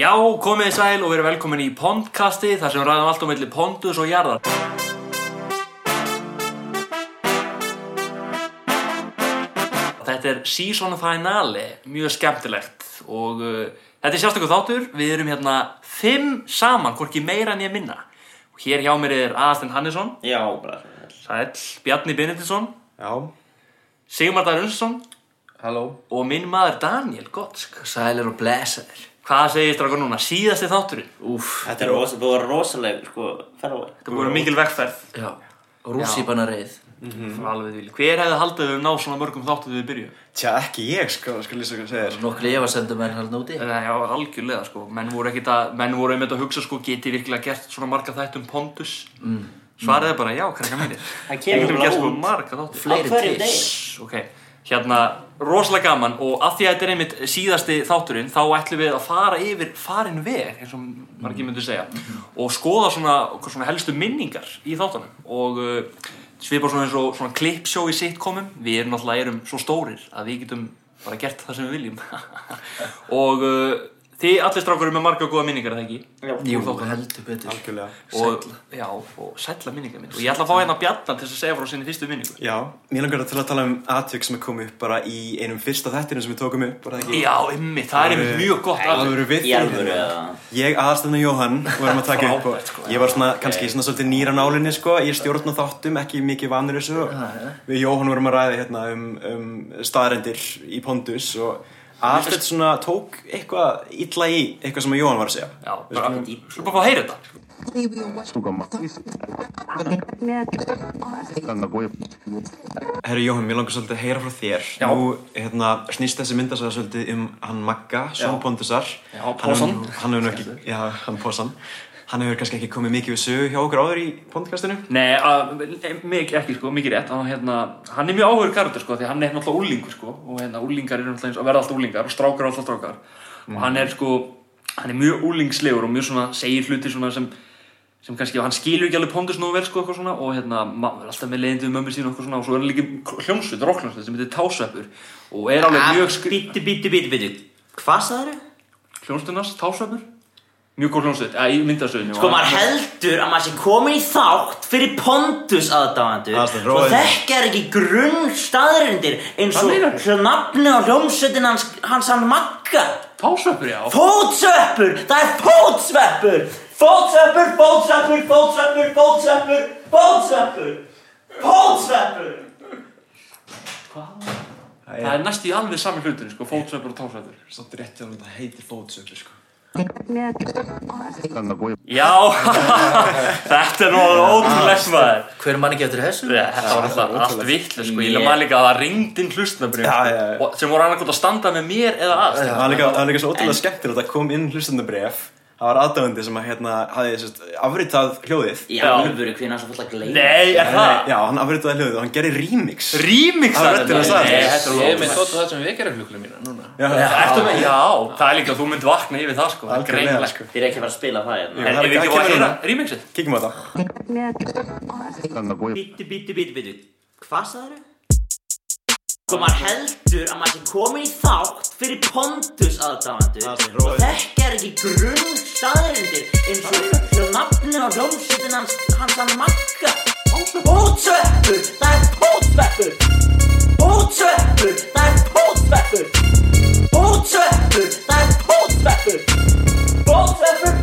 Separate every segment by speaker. Speaker 1: Já, komið þið sæl og verið velkomin í Pondkasti, þar sem við ræðum allt um milli Pondus og Jarðar. Þetta er season finale, mjög skemmtilegt og uh, þetta er sérstakur þáttur, við erum hérna fimm saman, hvorki meira en ég minna. Og hér hjá mér er Aðarstein Hannesson,
Speaker 2: Já, bara svona
Speaker 1: Sæll, Bjarni Benediktsson,
Speaker 3: Já,
Speaker 1: Sigmar Darunnsson
Speaker 3: halló
Speaker 1: og minn maður Daniel Gottsk. Sælir og blessaðir. Hvað segir strákar núna, síðasti þátturinn?
Speaker 4: Úf,
Speaker 2: Þetta er rosa, búið að vera rosaleg, sko, ferðaveg
Speaker 1: Þetta búið að vera mikil vegferð.
Speaker 4: já, rússipanar
Speaker 1: Mm. Alveg því. Hver hefði haldið að við ná svona mörgum þáttu þegar við byrjuðum?
Speaker 3: Tja, ekki ég sko, skal lýsa hvað segir
Speaker 4: Nokkri efasendum er hann úti
Speaker 1: Nei, já, algjörlega sko. Menn voru ekkit að, menn voru einmitt að hugsa sko, geti virkilega gert svona marga um þættum pondus? Mm. Svaraði bara, já, krakka mínir.
Speaker 2: Það kemur
Speaker 1: Við getum
Speaker 2: bara
Speaker 1: gert sko
Speaker 2: út.
Speaker 1: marga þáttu.
Speaker 4: Fleiri
Speaker 2: Á hverjum
Speaker 4: til.
Speaker 2: degi.
Speaker 1: Ok, hérna, rosalega gaman og af því að þetta er einmitt síðasti þátturinn þá ætlum við að fara yfir farin veg, eins og margir myndu segja og skoða svona, okkur svona helstu minningar í þáttunum og uh, svipar svona eins og svona klippsjó í sitcomum við erum alltaf erum svo stórir að við getum bara gert það sem við viljum og uh, þið allir strákur eru með marga góða minningar, er það ekki?
Speaker 4: Jú, heldur betur
Speaker 3: Algjörlega
Speaker 1: Og, já, og sætla minningar minn og ég ætla að fá hérna Bjarnan til þess að segja frá sinni fyrstu minningu
Speaker 3: Já, mér langar til að tala um atvik sem er komið upp bara í einum fyrsta þættinu sem við tókum upp var það ekki?
Speaker 1: Já, ymmi, það er einmitt mjög gott
Speaker 3: Það voru við
Speaker 2: Í alvöru
Speaker 3: þrír.
Speaker 2: eða
Speaker 3: Ég, aðalstefna Jóhann, vorum að taka upp
Speaker 1: Frábært, sko.
Speaker 3: og ég var svona, kannski svona svolítið nýra nálinni sko ég stjórna þáttum, ekki mikið vanur þessu og við Jóhann vorum að ræða hérna um, um staðarendir í Pondus og aðalstefna svona tók eitthvað illa í eitthvað sem Jóhann var að segja
Speaker 1: Já, bara, þú bara fá að heyra þetta
Speaker 3: Herri Jóhann, mér langar svolítið að heyra frá þér
Speaker 1: Já.
Speaker 3: Nú hérna, snýst þessi myndasæða svolítið um hann Magga, Sjón Bondusar
Speaker 1: Já, Posan.
Speaker 3: Hann, hann hefur nú ekki, já, hann Pósan Hann hefur kannski ekki komið mikið við sögu hjá okkur áður í podcastinu
Speaker 1: Nei, að, mikið ekki sko, mikið rétt hann, hérna, hann er mjög áhugur karakter sko, því hann er náttúrulega úlingur sko, og hérna, úlingar eru náttúrulega eins og verða alltaf úlingar og strákar eru alltaf strákar og hann er sko, hann er mjög úlingslegur og mjög svona, segir hluti svona sem sem kannski, hann skilur ekki alveg pondus nú vel sko, eitthvað svona, og hérna, ma- er alltaf með leiðindu mömmu sín og eitthvað svona, og svo er hann líka hljómsveit, rockljómsveit sem heitir Tásveppur og er alveg mjög skri...
Speaker 2: Bíti, bíti, bíti, bíti Hvað sagður þau?
Speaker 1: hljómsveitinars, Tásveppur mjög góð hljómsveit, eða í myndasöðinu
Speaker 2: Sko, maður heldur að maður sé komin í þátt fyrir Pontus aðdáðandu
Speaker 3: Aðeins,
Speaker 2: Svo
Speaker 3: róið.
Speaker 2: þekkjar ekki grunn staðrindir eins
Speaker 1: Hvað meinarðu?
Speaker 2: og svo nafni á hljómsveitin hans, hans hann Magga
Speaker 1: Tásveppur, já
Speaker 2: Fótsveppur, það er fótsveppur Fótsveppur, fótsveppur, fótsveppur, fótsveppur, fótsveppur Fótsveppur
Speaker 1: Það er næst í alveg saman hlutinu, sko, fótsveppur og tásveppur.
Speaker 3: Svolítið rétt hjá hann, það heitir fótsöglu sko
Speaker 1: Já, þetta er nú ótrúlegt maður.
Speaker 4: Hver mann ekki eftir þessu?
Speaker 1: Þetta var alltaf allt vittlust, sko. Ég lef maður líka að það ringd inn hlustnabrif,
Speaker 3: Já, já, já.
Speaker 1: sem voru annarkot að standa með mér eða að.
Speaker 3: Það var líka, það var líka svo ótrúlega skemmtilegt að kom inn hlustandabref Það var aðdæfandi sem að hérna hafði sérst, afritað hljóðið
Speaker 2: Í
Speaker 1: Já.
Speaker 2: alvöru, hvernig hans að falla að gleyma
Speaker 1: Nei, er það?
Speaker 3: Já, hann afritaði hljóðið og hann gerir remix
Speaker 1: Remix
Speaker 3: Það var röddin að sagði.
Speaker 1: Nei, þetta er
Speaker 4: Ég er með
Speaker 1: alveg
Speaker 4: þótt það sem við gerum hluglu mína núna
Speaker 3: Já,
Speaker 1: Ertu með, já, það er líka að þú mynd vakna yfir það, sko. Það er
Speaker 3: algjörlega,
Speaker 1: greinlega, sko.
Speaker 3: sko.
Speaker 2: Þið er ekki að fara að spila það
Speaker 3: Jú.
Speaker 1: En
Speaker 2: hérna
Speaker 1: ef
Speaker 3: það er-
Speaker 1: við ekki
Speaker 3: það
Speaker 1: að
Speaker 3: kemur
Speaker 1: heyra
Speaker 3: núna.
Speaker 1: remixið?
Speaker 3: Kíkjum á það
Speaker 2: Bítu, bítu, bítu, bítu Hvað sagður þau? Sko maður heldur að maður sé komin í þátt fyrir Pontus aðdáðandu
Speaker 3: Það er róið.
Speaker 2: og þekkjar ekki grunn staðrindir eins og hjá nafninu á hljómsveitin hans hans að makka Pótsveppur, það er pótsveppur Pótsveppur, það er pótsveppur Pótsveppur, það er pótsveppur Bótsveppur, bótsveppur,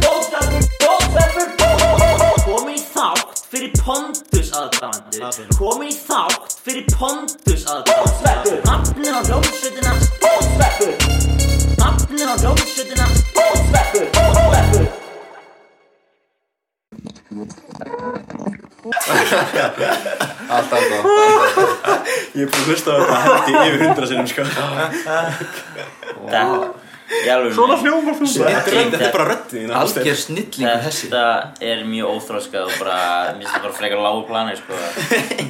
Speaker 2: bótsveppur, bótsveppur Komin í þátt fyrir Pontus aðdáðandu Komin í þátt fyrir Pontus aðdáðandu Bótsveppur Nafnið á hljómsveitina Bótsveppur Nafnið á hljómsveitina Bótsveppur Bótsveppur
Speaker 5: Allt annað
Speaker 3: Ég er búin að hlusta á þetta held ég yfir hundra sinnum sko
Speaker 1: Svona hljóma þú.
Speaker 3: Þetta er- þetta er bara röddið þín Aðalsteinn.
Speaker 4: Algjör snillingur þessi
Speaker 2: er mjög óþróskað og bara, mér finnst það bara frekar lágu plani, sko. Ég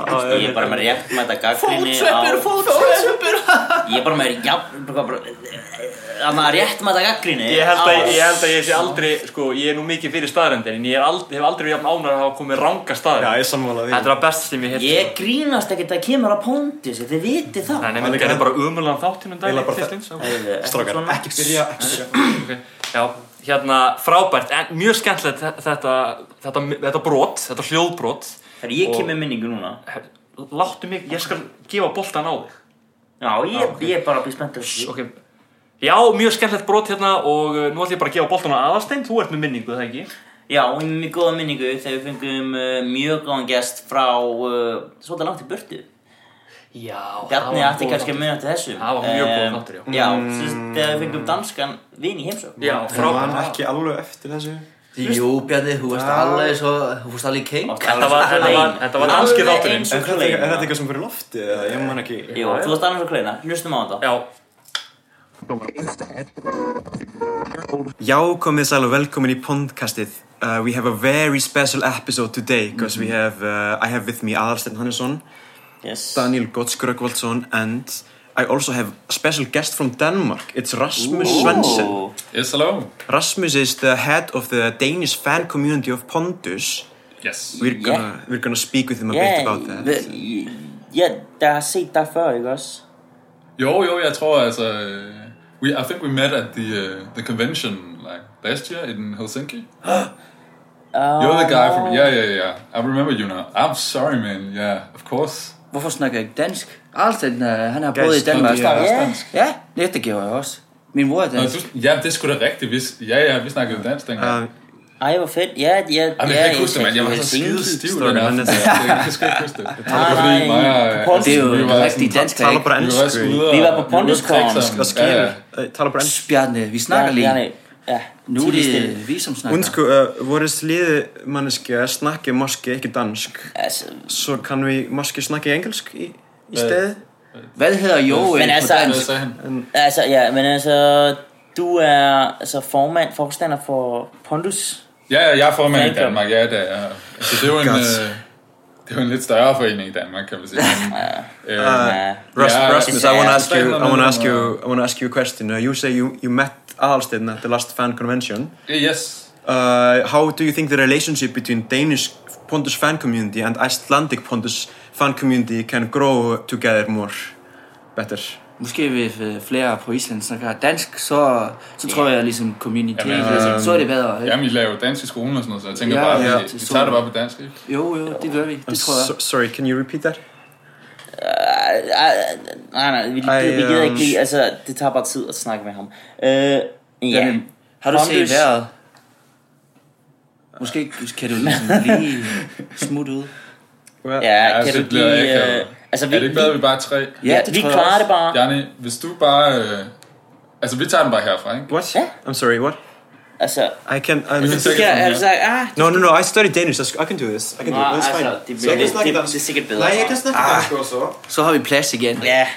Speaker 2: er bara með réttmæta gaggrinni
Speaker 4: Fótsveppur, fótsveppur
Speaker 2: Ég er bara með jafn, bara, bara, þannig að rétt maður það gaggrinni
Speaker 1: Ég held, að, ég held að ég sé aldrei, sko, ég er nú mikið fyrir staðrendir en ég er aldrei, hef aldrei verið jafn ánægður að hafa komið ranga staðrendir.
Speaker 3: Já, ég sammála því
Speaker 1: Þetta er að best sem ég hef sko.
Speaker 2: Ég grínast ekkert að kemur að Pontus, þið vitið það
Speaker 1: Nei, nei, við
Speaker 3: líka-
Speaker 1: gerðum bara umulagan þáttinn um
Speaker 3: Eiginlega
Speaker 1: daginn
Speaker 3: bara
Speaker 1: fyrst eins
Speaker 2: Heyrðu, ekkert
Speaker 3: Strákar,
Speaker 2: svona.
Speaker 3: ekki byrja, ekki byrja
Speaker 1: Já, hérna frábært, en mjög skemmtilegt þe- þetta, þetta, þetta brot, þetta hljóðbrot
Speaker 2: Þegar ég
Speaker 1: Og-
Speaker 2: kem með minningu núna
Speaker 1: Her- Láttu mig, ég skal gefa boltan á þig
Speaker 2: Já, ég, ég er bara að bli spennt af þessu.
Speaker 1: Ah, Ok Já, mjög skemmtilegt brot hérna og uh, nú ætlum ég bara að gefa boltan á aðastein Þú ert með minningu, það ekki?
Speaker 2: Já, ég er með mjög góða minningu þegar við fengum uh, mjög góðan gest frá uh, svolítið langt í burtu
Speaker 1: Já
Speaker 2: Bjarni ætti kannski að muna til Øhm, þessu
Speaker 1: Það var mjög góður
Speaker 2: Em,
Speaker 1: þáttur, já.
Speaker 2: Já,
Speaker 6: Mm.
Speaker 2: sem sagt, þegar við fengum danskan vin í heimsókn
Speaker 1: Já,
Speaker 3: man
Speaker 1: frábært
Speaker 3: ekki alveg eftir þessu
Speaker 4: Jú, Bjarni, þú varst
Speaker 3: Já.
Speaker 4: alveg svo, þú varst alveg í keik.
Speaker 1: Þetta var- þetta var- þetta var danski þátturinn.
Speaker 2: eins
Speaker 3: Er
Speaker 2: og
Speaker 3: þetta eitthvað- er
Speaker 2: kleina
Speaker 3: þetta eitthvað sem fyrir lofti eða ég man ekki
Speaker 2: Jú, þú varst annars og kleina, hlustum á þetta
Speaker 1: Já,
Speaker 3: Já, komið sæl og velkomin í podcastið. Uh, we have a very special episode today because
Speaker 2: Mhm.
Speaker 3: we have, uh, I have with me Aðarsteinn Hannesson,
Speaker 2: Yes
Speaker 3: Daniel Gottskröggvaldsson and I also have a special guest from Denmark. It's Rasmus Svensson.
Speaker 2: Ó,
Speaker 6: Yes, hello.
Speaker 3: Rasmus is the head of the Danish fan community of Pondus.
Speaker 6: Yes.
Speaker 3: We're
Speaker 2: Yeah.
Speaker 3: gonna, we're gonna speak with him a bit
Speaker 2: Yeah,
Speaker 3: about that.
Speaker 2: the- yeah, der har set dig før, ikke også?
Speaker 6: Jo, jo, jeg tror altså... øh, We, I think we met at the uh, the convention like last year in Helsinki. You're the guy from yeah yeah yeah. I remember you now. I'm sorry man. Yeah, of course.
Speaker 7: Hvorfor snakker jeg ikke dansk? Alstein, øh, han har boet i
Speaker 3: Gæst,
Speaker 7: Danmark.
Speaker 6: Du snakker også
Speaker 2: Ja.
Speaker 6: dansk.
Speaker 7: Ja, det, det gjorde jeg også. Min mor er
Speaker 6: Nå,
Speaker 7: dansk.
Speaker 6: du, ja, det er sgu da rigtigt. Vi, s- ja, ja, vi snakkede jo dansk dengang.
Speaker 3: Uh,
Speaker 2: Ej, hvor fedt. Ja, ja, ja.
Speaker 6: Ej, men jeg kan ikke huske det, mand. Jeg var så
Speaker 2: Helsinki.
Speaker 6: skide stiv
Speaker 3: Står
Speaker 6: den
Speaker 3: der
Speaker 6: aften.
Speaker 3: andet.
Speaker 6: Jeg kan sgu ikke huske det. Jeg tror, det var
Speaker 2: Nej,
Speaker 6: fordi
Speaker 2: nej,
Speaker 6: mig og
Speaker 2: på
Speaker 6: Alsen,
Speaker 7: Det er jo
Speaker 6: vi var sådan-
Speaker 7: rigtig dansk,
Speaker 3: taler på
Speaker 7: ikke?
Speaker 6: Vi var
Speaker 3: dansk.
Speaker 6: sgu ude
Speaker 2: Vi
Speaker 6: og-
Speaker 2: var på
Speaker 6: ude og
Speaker 2: Pontus-kongen.
Speaker 6: drikke sammen.
Speaker 3: Og
Speaker 6: Ja, ja.
Speaker 3: skil, uh, taler på dansk.
Speaker 7: Bjarne, vi
Speaker 2: Ja,
Speaker 7: snakker lige.
Speaker 2: ja, nej. Ja,
Speaker 7: Nu er
Speaker 2: tig lige
Speaker 7: det
Speaker 2: stille.
Speaker 7: vi, som snakker.
Speaker 3: Undskyld, uh, vores lede menneske snakker måske ikke dansk.
Speaker 2: Altså,
Speaker 3: Så kan vi måske snakke engelsk i, i stedet?
Speaker 7: Hvad hedder Joel
Speaker 2: Men altså-
Speaker 7: på
Speaker 6: Hvad
Speaker 7: dansk?
Speaker 6: sagde han?
Speaker 2: altså, ja, men altså, du er altså formand, forstander for Pondus.
Speaker 6: Ja, ja, jeg er formand i
Speaker 2: Fanklub.
Speaker 6: Danmark, ja, det er jeg. altså, det er jo en,
Speaker 3: Godt.
Speaker 6: øh, det er jo en lidt større forening i Danmark, kan man sige. Men, øh,
Speaker 2: Ja.
Speaker 3: Ras-
Speaker 6: Yeah,
Speaker 3: Uh, Rasmus,
Speaker 2: it's,
Speaker 3: I want to
Speaker 2: uh,
Speaker 3: ask
Speaker 6: it's
Speaker 3: you.
Speaker 6: like
Speaker 3: I want to
Speaker 6: another
Speaker 3: ask you.
Speaker 6: one.
Speaker 3: I want to ask you a question. Uh, you say you you met Ahlstedt at the last fan convention.
Speaker 6: yes,
Speaker 3: Uh, how do you think the relationship between Danish Pontus fan community and Icelandic Pontus fan community can grow together more, better?
Speaker 7: Måske hvis øh, flere på Island snakker dansk, så, så tror jeg ligesom community,
Speaker 6: Jamen, altså-
Speaker 7: så er det bedre. Ikke?
Speaker 6: jamen I laver jo dansk i skolen og sådan noget, så jeg tænker
Speaker 7: Ja,
Speaker 6: bare,
Speaker 7: ja,
Speaker 6: vi,
Speaker 7: det
Speaker 6: vi
Speaker 7: så-
Speaker 6: tager det bare på dansk, ikke?
Speaker 7: Jo, jo, det gør vi.
Speaker 3: I'm
Speaker 7: Det tror jeg.
Speaker 3: so- sorry, can you repeat that?
Speaker 2: Ej, ej, nej, nej, vi,
Speaker 3: Ej,
Speaker 2: vi gider
Speaker 3: øhm.
Speaker 2: ikke lige, altså, det tager bare tid at snakke med ham. Øh, ja.
Speaker 7: Jamen, Har du set
Speaker 2: Pontus.
Speaker 7: vejret? Måske kan du ligesom lige smutte ud.
Speaker 3: Well,
Speaker 2: Ja,
Speaker 6: altså,
Speaker 2: kan du
Speaker 6: det bliver
Speaker 2: lige...
Speaker 6: ikke,
Speaker 2: Øh,
Speaker 6: øh,
Speaker 2: altså,
Speaker 6: Er
Speaker 2: vi,
Speaker 6: det ikke bedre, at vi bare er tre?
Speaker 7: Ja,
Speaker 2: vi,
Speaker 7: det
Speaker 2: vi
Speaker 7: tror jeg
Speaker 2: klarer
Speaker 7: også.
Speaker 2: det bare.
Speaker 6: Bjarne, hvis du bare... Øh, altså, vi tager den bare herfra, ikke?
Speaker 3: What?
Speaker 2: Yeah.
Speaker 3: I'm sorry. What?
Speaker 2: Altså,
Speaker 3: I can. I'm,
Speaker 6: Vi
Speaker 2: ja,
Speaker 6: tager den
Speaker 2: altså,
Speaker 6: her.
Speaker 2: ah,
Speaker 3: no, no, no. I study Danish. I s- I can do this. I can do
Speaker 2: Nå,
Speaker 3: it. It's fine.
Speaker 2: Ah, altså, det, bliver, det, det, det, er sikkert bedre.
Speaker 3: Nej, jeg kan snakke dansk også.
Speaker 7: Så har vi plads igen.
Speaker 2: Ja,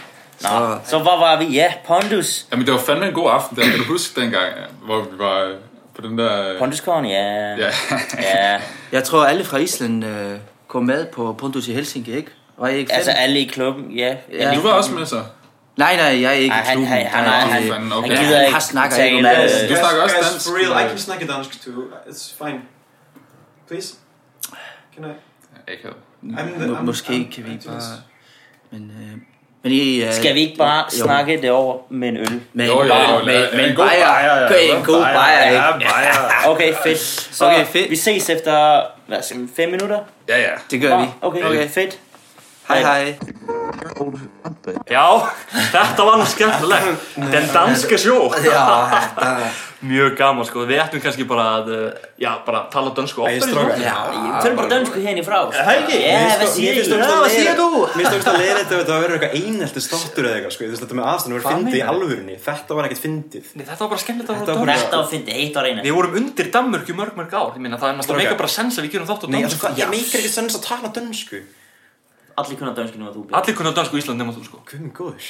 Speaker 2: Nå, så hvor var vi? Ja, Pondus.
Speaker 6: Jamen, det var fandme en god aften der, kan du huske dengang, ja, hvor vi var øh, på den der... øh,
Speaker 2: Ponduskorn, ja.
Speaker 6: Ja,
Speaker 2: ja.
Speaker 7: Jeg tror, alle fra Island øh, kom med på Pontus i Helsinki, ikke? Var I ikke
Speaker 2: Altså
Speaker 7: fem?
Speaker 2: alle i klubben, ja.
Speaker 7: Ja.
Speaker 6: du var også med så.
Speaker 7: Nej, nej, jeg er ikke
Speaker 2: Ej,
Speaker 7: i
Speaker 2: han,
Speaker 7: klubben.
Speaker 2: han, han,
Speaker 7: Der er
Speaker 2: han,
Speaker 7: ikke-
Speaker 6: det er
Speaker 2: han,
Speaker 6: fandme
Speaker 2: han
Speaker 6: okay.
Speaker 2: gider
Speaker 7: Ja,
Speaker 2: ikke
Speaker 7: han snakker ikke om
Speaker 2: tale,
Speaker 7: det.
Speaker 2: øh,
Speaker 6: Du snakker også dansk.
Speaker 3: real, I can snakke dansk too. It's fine. Please. Can I?
Speaker 6: Ikke
Speaker 3: I'm
Speaker 7: Må, måske kan vi ikke bare... Men, øh, men I, øh,
Speaker 2: Skal vi ikke bare
Speaker 7: jo,
Speaker 2: snakke det over med en øl?
Speaker 7: Med
Speaker 6: Jo,
Speaker 7: en
Speaker 6: jo,
Speaker 7: bajer,
Speaker 6: jo,
Speaker 7: med,
Speaker 6: lad-
Speaker 7: med
Speaker 6: en
Speaker 7: en
Speaker 6: god
Speaker 7: bajer, Gør en god bajer, ikke?
Speaker 2: Okay, fedt. Så
Speaker 7: Okay, fedt.
Speaker 2: vi ses efter, hvad skal vi, fem minutter?
Speaker 6: Ja, ja.
Speaker 7: Det gør vi.
Speaker 2: Okay, okay.
Speaker 7: Okay.
Speaker 2: fedt.
Speaker 7: Hej, hej.
Speaker 1: já, þetta var nú skemmtilegt Den danske sjó Mjög gaman sko, við ættum kannski bara að uh, Já, bara tala dönsku oftar
Speaker 3: Æ,
Speaker 1: í
Speaker 3: strákar.
Speaker 1: svona.
Speaker 2: Tölum bara dönsku hérna í frá.
Speaker 3: Ah, Það ekki?
Speaker 2: Ja,
Speaker 3: Mér
Speaker 2: hvad
Speaker 3: finnst-
Speaker 2: siger
Speaker 3: mér finnst
Speaker 2: I?
Speaker 3: ógeðslega
Speaker 2: Ja, hvad siger
Speaker 3: leiðinlegt-
Speaker 2: du?
Speaker 3: Mér finnst það leiðilegt ef þetta verður eitthvað einelti státtur eða eitthvað sko. Þú veist, Þetta með aðstæðan verður fyndið í alvörunni Þetta var ekkert fyndið
Speaker 1: Nei, Þetta var bara skemmtilegt að
Speaker 3: Þetta
Speaker 1: voru
Speaker 3: var bara-
Speaker 1: dönsku
Speaker 2: Þetta var fyndið eitt á reyna.
Speaker 1: Við vorum undir Danmörku í mörg mörg ár Ég meina það er
Speaker 3: Strákar.
Speaker 1: náttúrulega meika bara sens að við gerum þátt á
Speaker 3: Nei,
Speaker 1: dönsku
Speaker 3: altså hvað, ég meikir ekki sens að tala dönsku
Speaker 2: Allir kunna dönsku nú að þú byrja.
Speaker 1: Allir kunna dönsku í Ísland nema þú sko
Speaker 3: Guðum góður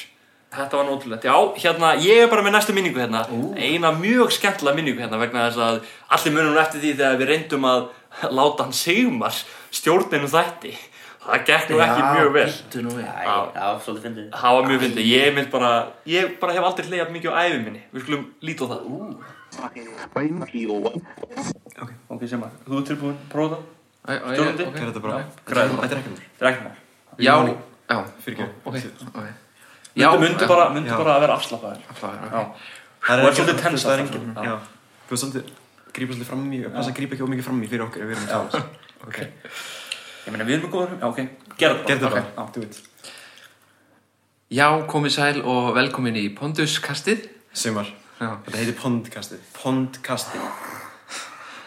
Speaker 1: Þetta var náttúrulegt, já, hérna, ég er bara með næstu minningu hérna Eina mjög skemmtilega minningu hérna vegna þess að allir munum eftir því þegar við reyndum að láta hann Sigmar stjórninu þætti Það gekk nú ekki mjög vel
Speaker 7: Bittu nú við.
Speaker 2: Æ, það var svolítið fyndið.
Speaker 1: Það var mjög fyndið, ég mynd bara, ég bara hef aldrei hleyjað mikið á æfi minni Við skulum líta á það Ok, Sigmar, þú er tilbúin, prófa það,
Speaker 7: Oj, oj,
Speaker 1: stjórnandi
Speaker 7: ok.
Speaker 3: Er þetta bara
Speaker 6: Græn.
Speaker 3: Þetta er ekki mér
Speaker 1: Þetta er ekki mál
Speaker 7: Já, já,
Speaker 3: Fyrir ekki
Speaker 7: okay. okay. Já,
Speaker 1: Myndu bara, myndu
Speaker 3: Já.
Speaker 1: bara að vera afslappaður
Speaker 7: bara...
Speaker 1: Og er svolítið tensa
Speaker 3: Það er engin Já Þú veist svolítið grípa svolítið fram í og passa að grípa ekki ómikið fram í fyrir okkur ef við erum að tala Ok,
Speaker 1: Ég meina, við erum góður, já, ok, gerðu það.
Speaker 3: gerðu
Speaker 1: Ok,
Speaker 3: þetta bara,
Speaker 1: já.
Speaker 3: do it
Speaker 8: Já, komið sæl og velkomin í Ponduskastið.
Speaker 3: Sumar,
Speaker 8: Já.
Speaker 3: þetta heitir Pondkastið Pondkastið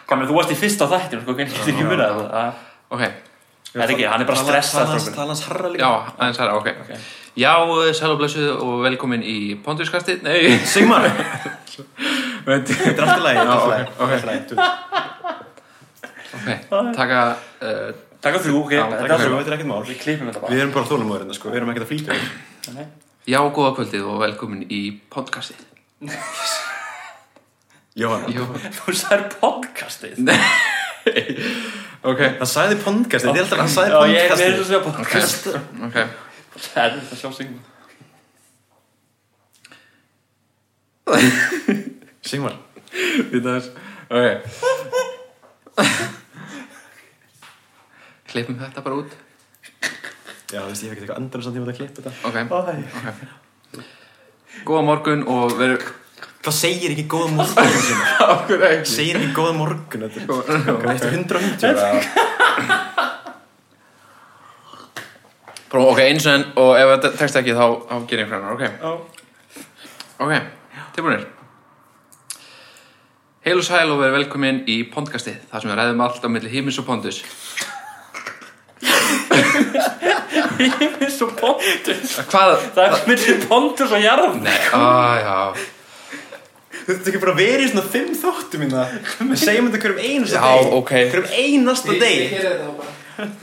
Speaker 1: Hvað með þú varst í fyrsta þættinum, sko, hvernig getur ekki munið það? Það-
Speaker 8: Ok,
Speaker 1: Það er ekki, hann er bara stressað,
Speaker 3: Talans,
Speaker 1: strókun.
Speaker 3: talans harra
Speaker 8: já,
Speaker 3: líka
Speaker 8: aðeins aðra, ok. Já, sæl og blessuð og velkomin í Ponduskastið. Nei,
Speaker 3: Sumar Þetta er allt í lagi, þetta er allt í lagi, allt í lagi, do it.
Speaker 8: ok, taka, uh,
Speaker 1: Takk þrjú, ok,
Speaker 8: Já,
Speaker 1: þetta
Speaker 8: taka
Speaker 1: er
Speaker 8: þrjú.
Speaker 1: alveg.
Speaker 3: Þetta er ekkert mál
Speaker 1: Við klippum þetta bara.
Speaker 3: Við erum bara þólumóðurinn, sko, við erum ekkert að flýta okkur.
Speaker 8: já, góða kvöldið og velkomin í Pondkastið.
Speaker 3: Jóhann,
Speaker 8: Jó,
Speaker 1: Þú sagði podcastið.
Speaker 8: ok,
Speaker 3: það sagði Pondkastið, þetta er alltaf, það sagði
Speaker 1: Já, ég er
Speaker 3: Pondkastið
Speaker 1: að segja podcast.
Speaker 8: ok.
Speaker 1: Það er þetta sjá singum.
Speaker 3: Sumar,
Speaker 8: Þetta er, ok. Klippum þetta bara út.
Speaker 3: já, þú veist, ég hef ekkert eitthvað endur samt ég múti að klippa þetta
Speaker 8: Ok, ok. Góða morgun og veru...
Speaker 3: Hvað segir ekki góða morgun, Sumar?
Speaker 8: Okkur ekki.
Speaker 3: Segir ekki góða morgun, þetta er Hvað er þetta, 190?
Speaker 8: Prófa, ok, eins og enn og ef það tekst ekki þá, þá ger ég fyrir hennar, ok? Ok, tilbúinir. Heil og sæl og verið velkomin í Pondkastið, þar sem við ræðum allt á milli himins og pondus.
Speaker 1: Svo Pontus.
Speaker 8: Eh, Hvað?
Speaker 1: Það er myndið Pontus og Jarl.
Speaker 8: Nei, á, já,
Speaker 3: Þetta er bara verið í svona fimm þóttum minna Við segjum þetta hverjum einasta
Speaker 8: Já,
Speaker 3: deg
Speaker 8: ok.
Speaker 3: Hverjum einasta deg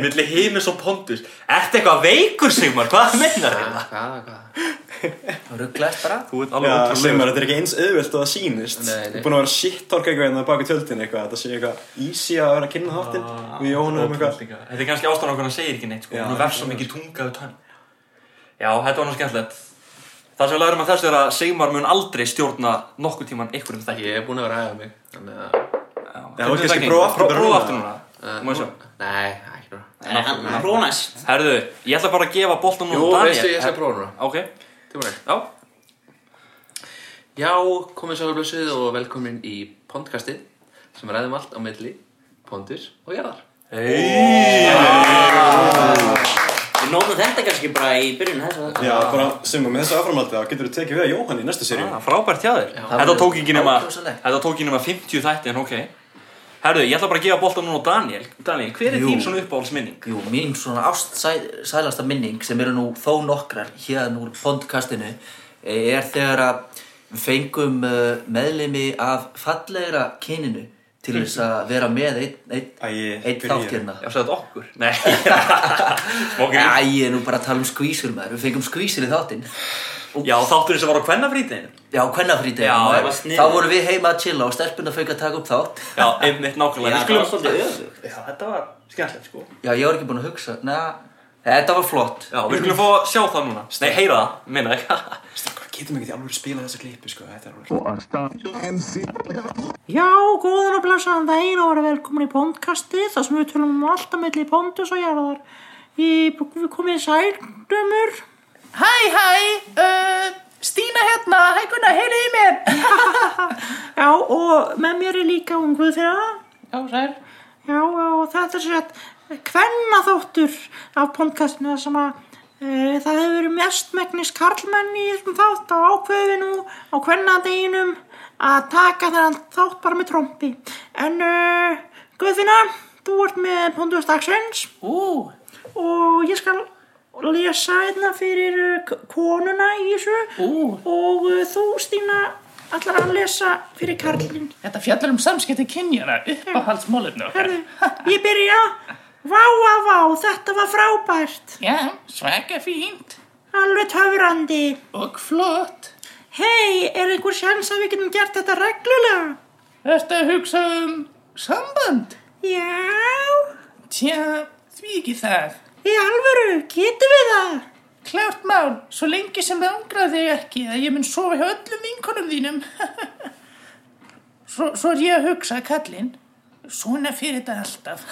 Speaker 1: Milli heimis og Pontus. Ertu eitthvað veikur, Sigmar? Hvað meinar þetta?
Speaker 8: hvað, hvað?
Speaker 4: Rugglaðist bara
Speaker 1: Þú ert
Speaker 3: Já,
Speaker 1: alveg
Speaker 3: sem
Speaker 1: ótrúlega.
Speaker 3: þetta er ekki eins auðvelt og það sýnist Þú
Speaker 8: Nei, nei.
Speaker 3: er búin að vera shit torka eitthvað en það baki tjöldin eitthvað Þetta sé eitthvað easy að vera að kynna þáttinn Við Jóhanna um eitthvað
Speaker 1: Þetta er kannski ástæðan okkur hann segir ekki neitt, sko.
Speaker 3: Já,
Speaker 1: Hún verð svo mikið tungaðu tönn. Já, þetta var nú skemmtilegt. Það sem við lærum að þessu er að Sigmar mun aldrei stjórna nokkuð tíman einhverjum þætti.
Speaker 8: Ég er búin að ræða mig, þannig að...
Speaker 3: Já, ok, skal prófa aftur bara
Speaker 1: Prófa
Speaker 3: núna?
Speaker 1: aftur núna.
Speaker 8: Eh,
Speaker 1: Þú má sjá.
Speaker 8: Nei, ekki bara.
Speaker 2: Hann prófa næst
Speaker 1: Herðu, ég ætla bara að gefa boltan núna
Speaker 8: Jú,
Speaker 1: Daniel. eh.
Speaker 8: veistu, ég skal prófa núna.
Speaker 1: Ok,
Speaker 8: Tilbúinir.
Speaker 1: já.
Speaker 8: Já, komið sæl og blessuð og velkomin í Pondkastið, sem við ræðum allt á milli pondus og jarðar.
Speaker 2: Við nógum þetta kannski bara í byrjun þess að
Speaker 3: Já, bara sem með þessu aframaldi þá getur þú tekið við að Jóhann í næstu seríu
Speaker 1: Ah, frábært hjá þér.
Speaker 8: Já.
Speaker 1: Þetta tók ekki nema,
Speaker 4: Ákjósanlegt.
Speaker 1: þetta tók ekki nema 50 þætti, en ok. Herðu, ég ætla bara að gefa boltan núna á Daniel. Daniel, hver er
Speaker 4: Jú.
Speaker 1: þín svona uppáhaldsminning?
Speaker 4: Jú, mín svona ástsælasta minning sem eru nú þó nokkrar hér úr podcastinu eh, er þegar að við fengum eh, meðlimi af fallegra kyninu til þess að vera með einn ein,
Speaker 3: Æ, ég
Speaker 4: ein
Speaker 3: byrja.
Speaker 4: þátt hérna
Speaker 1: Já, sagði þetta okkur. Nei. ok.
Speaker 4: Æ, ég er nú bara að tala um skvísur maður, við fengum skvísur í þáttinn
Speaker 1: Já, þátturinn sem var á kvennafrítiðinu.
Speaker 4: Já, kvennafríti
Speaker 1: Já, það var
Speaker 2: sniðugt.
Speaker 4: Þá vorum við heima að chilla og stelpunna fengið að taka upp þátt
Speaker 1: Já, einmitt nákvæmlega.
Speaker 2: Já,
Speaker 1: Við skulum-
Speaker 2: það var svolítið öfugt.
Speaker 1: Já, þetta var skemmtilegt, sko.
Speaker 4: Já, ég var ekki búin að hugsa, na, þetta var flott
Speaker 1: Já, við skulum fá að sjá það núna. Nei, heyra það, minna ekki.
Speaker 3: Strákar, getum ekki því alveg spila þessa klippu sko, þetta er alveg
Speaker 9: Já, góðan og blessaðan daginn og verið velkomin í Pondkastið, þar sem við tölum um alltaf milli Pondus og jarðar. Í, við komum í sælnumur.
Speaker 10: Hæ, hæ, uh, Stína hérna, hæ Gunnar, heyrðu í mér.
Speaker 9: Já, og með mér er líka unguð þeirra.
Speaker 10: Já, sær.
Speaker 9: Já, og þetta er sér að hvenna þóttur af Pondkastinu þar sem að e, það hefur verið mestmegnis karlmenn í þessum þátt og ákveði við nú á hvennadeginum að taka þennan þátt bara með trompi. En uh, Guðfinna, þú ert með Pondus dagsins.
Speaker 10: Ú,
Speaker 9: og ég skal lesa hérna fyrir uh, k- konuna í þessu
Speaker 10: Ú.
Speaker 9: og uh, þú Stína ætlar að lesa fyrir karlinn
Speaker 10: þetta fjallar um samskipti kynjana, uppáhaldsmálefni okkar.
Speaker 9: Herðu, ég byrja Vá, vá, vá, þetta var frábært
Speaker 10: Já, svaka fínt
Speaker 9: alveg töfrandi
Speaker 10: og flott.
Speaker 9: Hei, er einhver sjans að við getum gert þetta reglulega?
Speaker 10: Ertu að hugsa um samband?
Speaker 9: Já,
Speaker 10: Tja, því ekki það.
Speaker 9: í alvöru, getum við það?
Speaker 10: Klárt mál, svo lengi sem það angraði þig ekki að ég mun sofa hjá öllum vinkonum þínum. svo, svo er ég að hugsa að kallinn, svona fyrir þetta alltaf.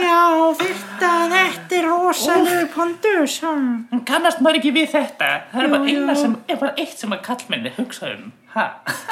Speaker 9: Já, þetta, þetta er rosalegu pondus. Hann
Speaker 10: kannast maður ekki við þetta. Það er
Speaker 9: Jú,
Speaker 10: bara, eina
Speaker 9: jú.
Speaker 10: sem, er bara eitt sem að kallmenni hugsa um. Ha,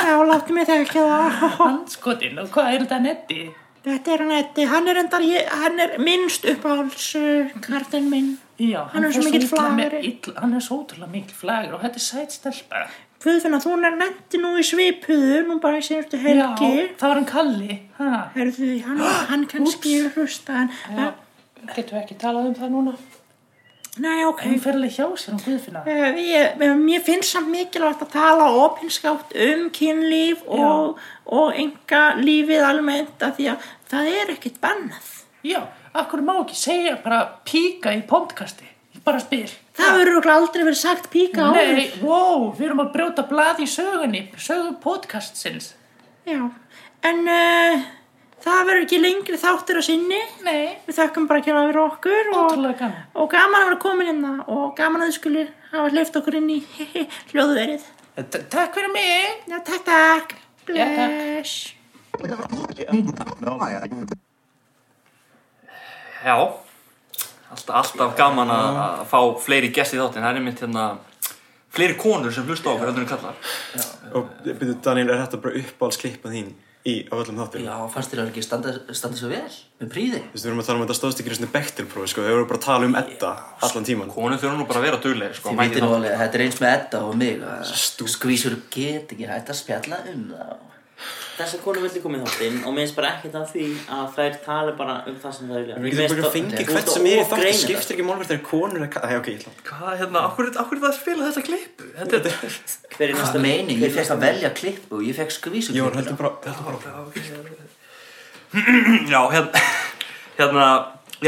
Speaker 9: Já, láttu mig þekka það.
Speaker 10: skotin og hvað er þetta netti?
Speaker 9: Þetta er hann Eddi, hann er endar, ég, hann er minnst uppáhalds uh, kartinn minn.
Speaker 10: Já,
Speaker 9: Hann er svo mikill
Speaker 10: illa með-
Speaker 9: flagari.
Speaker 10: ill- Hann er svo ótrúlega mikil flagur og þetta er sæt stelpa.
Speaker 9: Guðfinna, þú er nefndi nú í svipuðu, nú bara í síðustu helgi.
Speaker 10: Já, það var hann Kalli. Ha.
Speaker 9: Herðu, hann, hann kannski hlusta, en, en
Speaker 10: Getum við ekki talað um það núna?
Speaker 9: Nei, ok.
Speaker 10: Hún fer alveg hjá sér um Guðfinna.
Speaker 9: Eh, ég- eh, Mér finnst samt mikilvægt að tala opinskátt um kynlíf og, og enga lífið almennt af því að það er ekkert bannað.
Speaker 10: Já, af hverju má ekki segja bara píka í podcasti? Ég bara spyr.
Speaker 9: Það verður örugglega aldrei verið sagt píka
Speaker 10: Nei,
Speaker 9: áður.
Speaker 10: wow, við erum að brjóta blað í sögunni, sögu podcastsins.
Speaker 9: Já, en uh, það verður ekki lengri þáttur að sinni.
Speaker 10: Nei.
Speaker 9: Við þakkum bara kjörlega fyrir okkur.
Speaker 10: Ótrúlega gaman.
Speaker 9: Og gaman að vera komin hérna og gaman að þið skulir hafa hleyft okkur inn í hljóðverið.
Speaker 10: Eh, Takk fyrir mig.
Speaker 9: Já, takk, takk.
Speaker 10: Já, takk.
Speaker 9: Bless.
Speaker 1: Já, alltaf, alltaf gaman að að fá fleiri gesti í þáttinn. Það er einmitt hérna fleiri konur sem hlusta á okkur heldur en kallar.
Speaker 3: Og byrju, Daniel, er þetta bara uppáhaldsklipa þín í á öllum þáttum? Já,
Speaker 4: fannst þér að ekki standa, standa svo vel með príði?
Speaker 3: Þú veist, við erum að tala um þetta stóðst ekki svona bektirprófi, sko, við erum bara að tala um Edda allan tíman.
Speaker 1: Konur þurfa nú bara að vera dugleg, sko.
Speaker 4: Þið
Speaker 1: mæti
Speaker 4: veitir nú
Speaker 1: þáttinn.
Speaker 4: alveg, að þetta er eins með Edda og mig að Skvísur get ekki hægt að spjalla um það
Speaker 2: Þessar konur vildi koma í þáttinn og mér finnst bara ekkert að því að þær tala bara um það sem þær vilja.
Speaker 3: Við getum bara að fengja hvert sem er í sko. þáttu, skiptir ekki málverð þegar konur er... Æ, ok, ég ætla.
Speaker 1: Hvað, hérna, akkur, akkur er það að spila þetta klipp? Þetta er...
Speaker 2: Hver
Speaker 4: Hvað
Speaker 1: næsta-
Speaker 4: meining?
Speaker 1: hver
Speaker 4: Ég
Speaker 1: er
Speaker 4: fekk
Speaker 1: næsta-
Speaker 4: að velja klipp og ég fekk skvísur
Speaker 1: Jón,
Speaker 4: heldur
Speaker 3: bara, heldur bara
Speaker 1: Já, hérna, hérna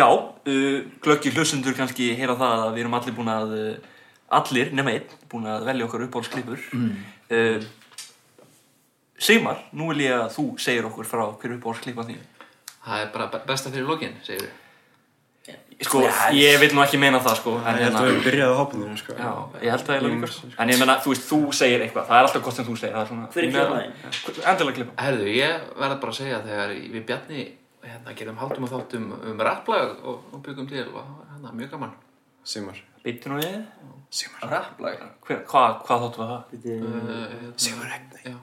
Speaker 1: já, uh, glöggi hlustendur kannski heyra það að við erum allir búin að, uh, allir, nema einn, búin að velja okkar uppáhaldsklippur.
Speaker 8: Mm.
Speaker 1: Uh, Sigmar, nú vil ég að þú segir okkur frá hverju uppáhaldsklipa þín.
Speaker 8: Það er bara be- besta fyrir lokin, segir við
Speaker 1: Sko, ég vil nú ekki meina það, sko. en
Speaker 3: Ég held
Speaker 1: hérna-
Speaker 3: að við byrjaði á hoppunum, sko.
Speaker 1: Já, ég held það eiginlega líka.
Speaker 3: Ég-
Speaker 1: sko. En ég menna, þú veist, þú segir eitthvað. Það er alltaf gott sem þú segir. það er svona-
Speaker 2: Hver er klippaðinn?
Speaker 1: Endilega klippa.
Speaker 8: Herðu, ég verða bara að segja að þegar við Bjarni hérna, gerðum hátum og þáttum um rapplag og, og byggum til og það var hérna, mjög gaman.
Speaker 3: Sigmar.
Speaker 1: Bittu nú við.
Speaker 3: Sigmar.
Speaker 8: Rapplag?
Speaker 1: Hver, hvað, hvað þáttu var það?
Speaker 8: Uh, Sigmar Regni.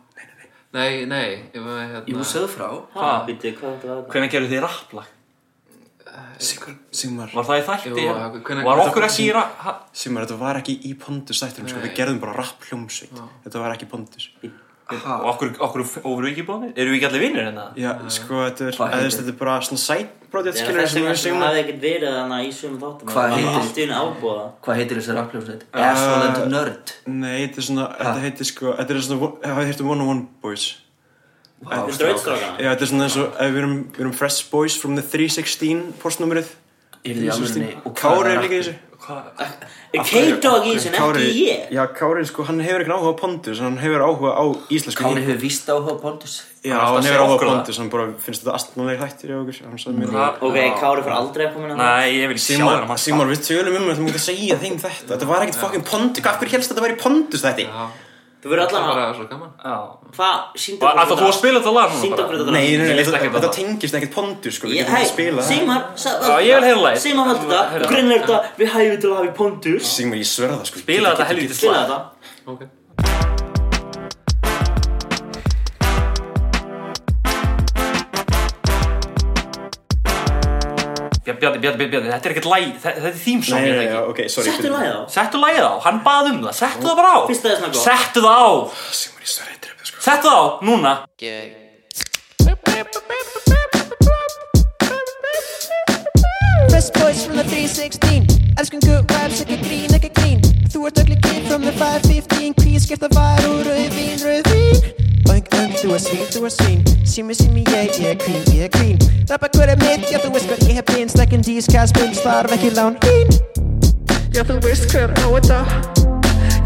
Speaker 8: Nei, nei, ég var hérna...
Speaker 1: Jú, segðu frá.
Speaker 8: Hvað?
Speaker 2: Bittu, hvað þetta var
Speaker 1: Hvernig gerðu þið rapplag?
Speaker 3: Sigmar. Sigmar.
Speaker 1: Var það í þætti?
Speaker 8: Jú, já, hvenær-
Speaker 1: var okkur ekki í rapplag?
Speaker 3: Sigmar, þetta var ekki í pondus þættinum, sko,
Speaker 1: Nei.
Speaker 3: við gerðum bara rapp hljómsveit. Þetta var ekki pondus.
Speaker 1: Og okkur, okkur, og voru við ekki bóðið? Erum við ekki allir vinnir hérna?
Speaker 3: Já, sko, þetta er,
Speaker 1: Hvað
Speaker 3: eða,
Speaker 1: heitir-
Speaker 3: þetta er bara svona sætbrótið,
Speaker 2: Þess
Speaker 3: skilur við sem
Speaker 2: vegna
Speaker 3: við
Speaker 2: sem
Speaker 3: Sigmar.
Speaker 2: hafði ekkert verið þannig í sumum þáttum.
Speaker 3: Hvað
Speaker 2: Það var
Speaker 3: heitir-
Speaker 2: Allt í unni ábúða.
Speaker 4: Hvað heitir þessi rappljómsveit?
Speaker 3: Uh,
Speaker 4: Asshole and Nerd
Speaker 3: Nei, þetta er svona, þetta heitir sko, þetta er svona, hafið hértu One on One Boys?
Speaker 2: Þetta er draugstrákana.
Speaker 3: Já, þetta er svona eins og, eh, við erum, við erum Fresh Boys from the 316 postnúmerið.
Speaker 4: Yrði í alvörunni, og hvað
Speaker 3: Kári
Speaker 4: var
Speaker 3: er líka í
Speaker 4: rappið?
Speaker 3: þessu.
Speaker 2: Er K-Dog í þessu, en
Speaker 3: Kári-
Speaker 2: ekki ég?
Speaker 3: Já, Kári, sko, hann hefur ekki áhuga á Pondus, hann hefur áhuga á íslensku
Speaker 4: Kári
Speaker 3: hip-
Speaker 4: hefur víst áhuga á Pontus
Speaker 3: Já, hann hefur áhuga á Pondus, hann bara finnst þetta astmanlega hættir hjá okkur hann sagði mér það.
Speaker 2: Ok, Kári fór aldrei að koma inn á
Speaker 3: Sigmar- Sigmar, við tölum um að þú mútt að segja þeim þetta Þetta var ekkert fucking Pondus, hvað fyrir helst að þetta væri Pondus þetta?
Speaker 2: Þú verður allan
Speaker 8: Það var svo gaman.
Speaker 1: Já.
Speaker 2: Hvað, síndu
Speaker 3: Ætlar þú að spila þetta lag núna
Speaker 2: Síndu
Speaker 3: bara?
Speaker 2: okkur þetta
Speaker 3: Nei,
Speaker 2: Ég
Speaker 3: nei, nei,
Speaker 2: veist
Speaker 3: þetta-
Speaker 2: ekki
Speaker 3: þetta
Speaker 2: þetta.
Speaker 3: tengist ekkert Pondus, sko, við
Speaker 2: Ég-
Speaker 3: getum ekki
Speaker 2: Hei,
Speaker 3: að spila það.
Speaker 2: Sigmar, sa-
Speaker 3: Já, ég vil heyra lagið.
Speaker 2: Sigmar valdi þetta,
Speaker 3: Heyrðu.
Speaker 2: grunnir þetta, við hæfum til að hafa í pondus
Speaker 3: Sigmar, ég sverða það, sko
Speaker 1: Spila þetta helvítið
Speaker 2: Spila þetta
Speaker 8: Ok.
Speaker 1: Bjarni, Bjarni, Bjarni, Bjarni, þetta er ekkert læg, þetta er þýmsóng
Speaker 3: Nei, nei, já, ok, sorry
Speaker 1: Settu
Speaker 3: fyrir-
Speaker 1: lagið á Settu lagið á, hann bað um það, settu það bara á
Speaker 2: Fyrst það er svona gott.
Speaker 1: Settu það á
Speaker 3: Sigmar, ég sverða þetta
Speaker 1: Settu það á, núna
Speaker 11: Fresh boys from the 316 Elskum good vibes, ekki grín, ekki grín Þú ert ögli kid from the 515 Hví skipta var og rauðvín, rauðvín Bang, bang, þú er svín, þú er svín Sími, sími, ég, ég er grín, ég er grín Rappa hver er mitt, já þú veist hvað ég hef bín Stekkin dís, kæspinn, starf ekki lán Bín Já þú veist hver á þetta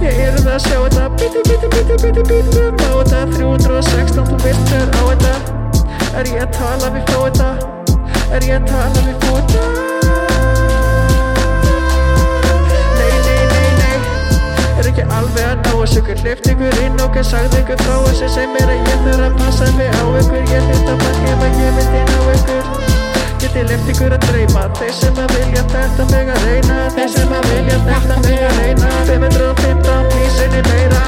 Speaker 11: Ég er um að sjá þetta Bíti, bíti, bíti, bíti, bíti um á þetta 316, þú veist hver á þetta Er ég að tala við fá þetta Er ég að tala við fá þetta Nei, nei, nei, nei Er ekki alveg að ná þessu Ykkur hleyft ykkur inn og sagði ykkur frá þessu sem er að ég þurf að passa mig á ykkur Ég hlut að fara ef að ég myndi ná ykkur Getið leift ykkur að dreyma Þeir sem að vilja þetta mega reyna Þeir sem að vilja þetta mega reyna 515 plísinni meira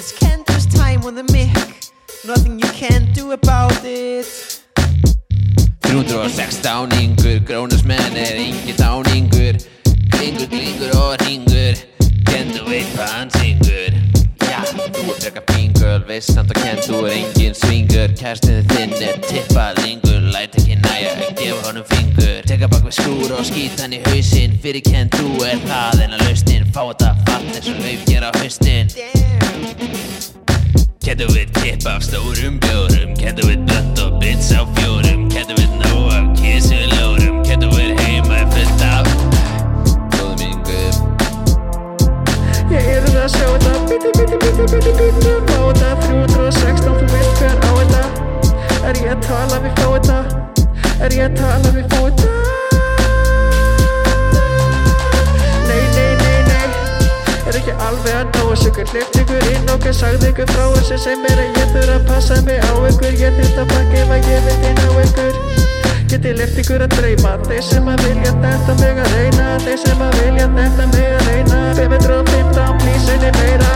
Speaker 12: It's Kendra's time on the mic. Nothing you can do about it.
Speaker 13: 306 dáningur, grónusmenn er engi dáningur Klingur, klingur og ringur, kendu veit hvað hann syngur Já, þú er freka pingul, veist samt að kenn, þú er engin svingur Kærstinn þinn er tippa lingur, læt ekki næja, gef honum fingur Tekka bak við skúr og skýt hann í hausinn, fyrir kenn, þú er það en að lausnin Fá þetta fatt eins og lauf gera á haustin Kendu við kipp af stórum um bjórum Kendu við blönd og bits á fjórum Kendu við nóg af kísuljórum Kendu við heima er fullt af Góðum yngum
Speaker 11: Ég er að sjá þetta Biti, biti, biti, biti, biti Má þetta 316 Þú veist hver á þetta Er ég að tala við fá þetta Er ég að tala við fá þetta Nei, nei, nei, nei Er ekki alveg að ná þessu ykkur Hleypt ykkur inn og ég sagði ykkur frá þessu sem er að ég þurfa að passa mig á ykkur Ég þurft að pakka ef að ég veit inn á ykkur Getið leift ykkur að dreyma Þeir sem að vilja þetta mega reyna Þeir sem að vilja þetta mega reyna 515 plísinni meira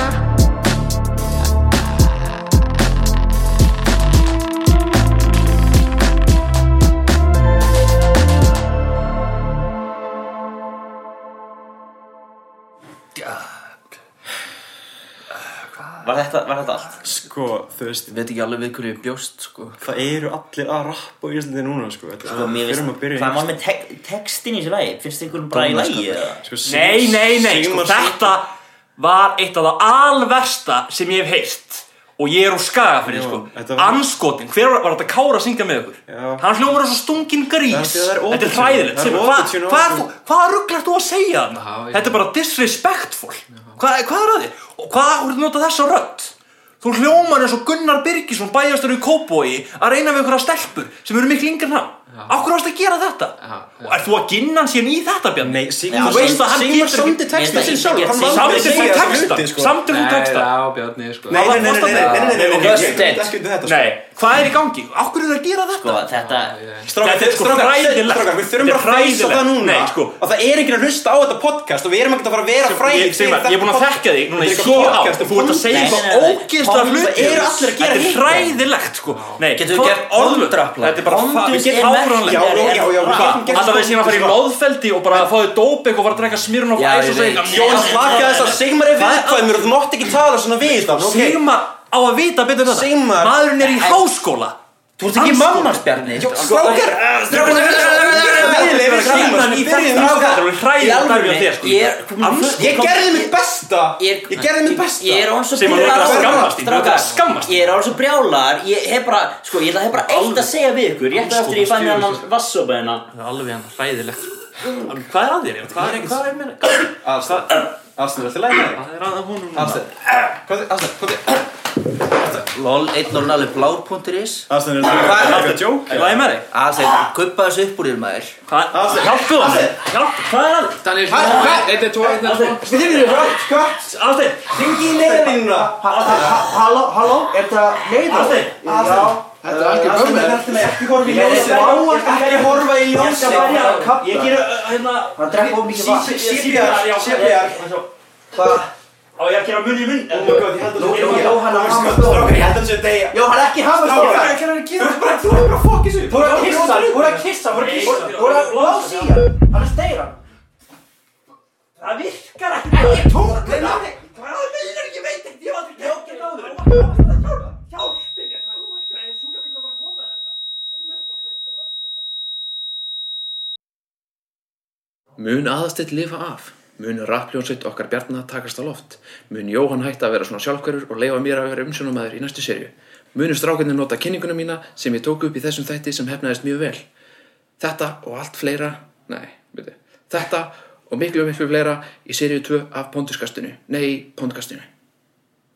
Speaker 3: Var þetta, var þetta allt? Sko, þú veist
Speaker 4: Ég veit ekki alveg við hverju ég bjóst sko
Speaker 3: Það eru allir að rappa í Íslandi núna, sko Þetta
Speaker 4: Sko, mér
Speaker 3: Fyrir
Speaker 4: finnst-
Speaker 3: um að byrja
Speaker 14: Hvað er maður með tek textin í þessu lagi? Finnst þið einhverjum bara í lagi? eða?
Speaker 3: Sko,
Speaker 1: Nei, nei, nei, sko,
Speaker 14: Sigmar
Speaker 1: þetta var eitt af það alversta sem ég hef heyrt og ég er úr skaga fyrir, sko Anskotin, hver var, var þetta Kára að syngja með ykkur? Já. Hann hljómar eins og stungin grís
Speaker 3: Þetta er
Speaker 1: Þetta er
Speaker 3: autotune.
Speaker 1: hræðilegt
Speaker 3: Það er
Speaker 1: Sigmar, hvað-
Speaker 3: autotune og
Speaker 1: Hvað
Speaker 3: autotune.
Speaker 1: þú- hvað rugglar þú að segja þarna? Þetta er bara disrespectful Hvað, hvað er að þér? Og hvað voru þú nota þessa rödd? Þú hljómar eins og Gunnar Birgisson bæjastur í Kópói að reyna við einhverja stelpur sem eru miklu yngri en hann Akkur varst að gera þetta? Og ert þú að ginna hann síðan í þetta, Bjarni? Nei,
Speaker 3: Sigmar-
Speaker 1: Þú veist að hann
Speaker 3: Sigmar
Speaker 1: getur
Speaker 3: samdi textann sinn sjálfur, hann valdi að
Speaker 1: Samdi þú
Speaker 3: segja þessa
Speaker 1: texta?
Speaker 3: hluti, sko.
Speaker 1: Samdi þú
Speaker 3: Nei,
Speaker 1: texta?
Speaker 3: já,
Speaker 1: Bjarni,
Speaker 3: sko. Nei, nei, nei, nei, nei, nei, nei, nei, nei, nei, nei, ég- ég- ég- ekki undir þetta, sko.
Speaker 1: Nei, hvað er í gangi? Akkur er það að gera þetta?
Speaker 14: Sko, þetta
Speaker 2: Ah,
Speaker 3: Strákar,
Speaker 1: Þetta er sko
Speaker 3: strákar,
Speaker 1: hræðilegt.
Speaker 3: strákar, við þurfum
Speaker 1: Þetta er
Speaker 3: bara að freysa
Speaker 1: hræðilegt.
Speaker 3: það núna
Speaker 1: Nei, sko.
Speaker 3: að það er ekki að hlusta á þetta podcast og við erum ekki að fara að vera
Speaker 1: Ég-
Speaker 3: fræðir
Speaker 1: Sigmar, ég er búinn að þekkja þig núna í sjö ár og þú ert að segja eitthvað ógeðslega hluti
Speaker 3: það eru allir að gera
Speaker 1: Þetta er
Speaker 3: hitt.
Speaker 1: hræðilegt sko Nei,
Speaker 3: Getum við
Speaker 1: hvað-
Speaker 3: gert
Speaker 1: orðlög?
Speaker 3: kontraplan?
Speaker 1: Þetta er bara
Speaker 3: Komdu
Speaker 1: fa- við
Speaker 3: þér
Speaker 1: getum
Speaker 3: merk-
Speaker 1: fáranlega
Speaker 3: Já, já, já, já, við
Speaker 1: Hvað?
Speaker 3: getum gert
Speaker 1: Alltaf við síðan að fara í
Speaker 3: sko.
Speaker 1: móðfeldi og bara að fáðu dóp eitthvað og fara að drekka smirn og
Speaker 3: Já,
Speaker 1: æs
Speaker 3: ég
Speaker 1: og segja
Speaker 3: veit. Jón, slakaðu þess að Sigmar er viðkvæmur
Speaker 1: og þú mátt ekki tala svona við hann Sigmar á að vita betur en þetta Sigmar Maðurinn er í háskóla Þú ert
Speaker 4: ekki mamma,
Speaker 1: Bjarni
Speaker 4: strákar, strákar,
Speaker 1: Sigmar í þetta Það er hræðilegt dæmi á þér sko
Speaker 4: Ég er-
Speaker 1: Andskot-
Speaker 3: Ég gerði mitt besta Ég gerði mitt besta
Speaker 14: Ég er án svo
Speaker 1: Sigmar, þú ert að skammast þín, þú ert að
Speaker 14: skammast Ég er án svo brjálar Ég hef bara, sko, ég ætla- hef bara eitt að segja við ykkur Rétt
Speaker 1: Alls
Speaker 14: eftir ég fæ mér
Speaker 1: konar
Speaker 14: annan vassopa hérna
Speaker 1: Það er alveg hann hræðilegt Hvað er að þér? Jón? Hvað er hvað er meina?
Speaker 3: Afstæð, afstæð, þetta er lægnaði
Speaker 1: Hvað er að honum núna?
Speaker 3: Afstæð, hvað er, afstæð, hvað er
Speaker 4: LOL, einn og alveg blár.is
Speaker 3: Aðstæðan er- Hvað er þetta joke?
Speaker 4: Er
Speaker 1: það í meðri?
Speaker 4: Aðstæðan, guppa þessu upp úr þér maður
Speaker 1: Hvað? Hjálpu það Hjálpu Hvað er að
Speaker 8: Daniel,
Speaker 4: Hæ?
Speaker 8: hæ,
Speaker 4: Hæ?
Speaker 8: þetta er tvo
Speaker 1: Alþeir,
Speaker 2: ringi í neyðarlínuna Halló, halló, er það neyðar? Já Þetta er algjör bömmur Þetta er ekki horfa í ljósið
Speaker 3: Ekki horfa í ljósið
Speaker 2: Ég gera,
Speaker 1: hérna
Speaker 2: Hann drekka of mikið vatn
Speaker 1: Hvað? Á ég að gera munn í munn? Oh my god, ég held að
Speaker 2: Jóhanna, Jóhanna, Jóhanna Ég held að þetta er Jóhanna, ekki hafa
Speaker 3: Strákar, þú er bara að fokka þessu
Speaker 2: Þú voru að kissa, þú voru að kissa, þú voru að kissa Þú voru að lási í hann, annars deyra hann Það virkar ekki Ekki tóknina Hvað er það meinar, ég veit ekki, ég var aldrei kjókinn áður Hjálpi mér, hvað er sjúkrabíl að vera að koma þetta?
Speaker 8: Mun aðastill lifa af? Mun rappljónsitt okkar bjarna takast á loft? Mun Jóhann hætta að vera svona sjálfkverfur og leifa mér að vera umsjónumæður í næstu serju? Munu strákarnir nota kynninguna mína sem ég tók upp í þessum þætti sem hefnaðist mjög vel? Þetta og allt fleira, nei, veitu, þetta og miklu miklu fleira í serju 2 af Pontuskastinu, nei, Pontkastinu.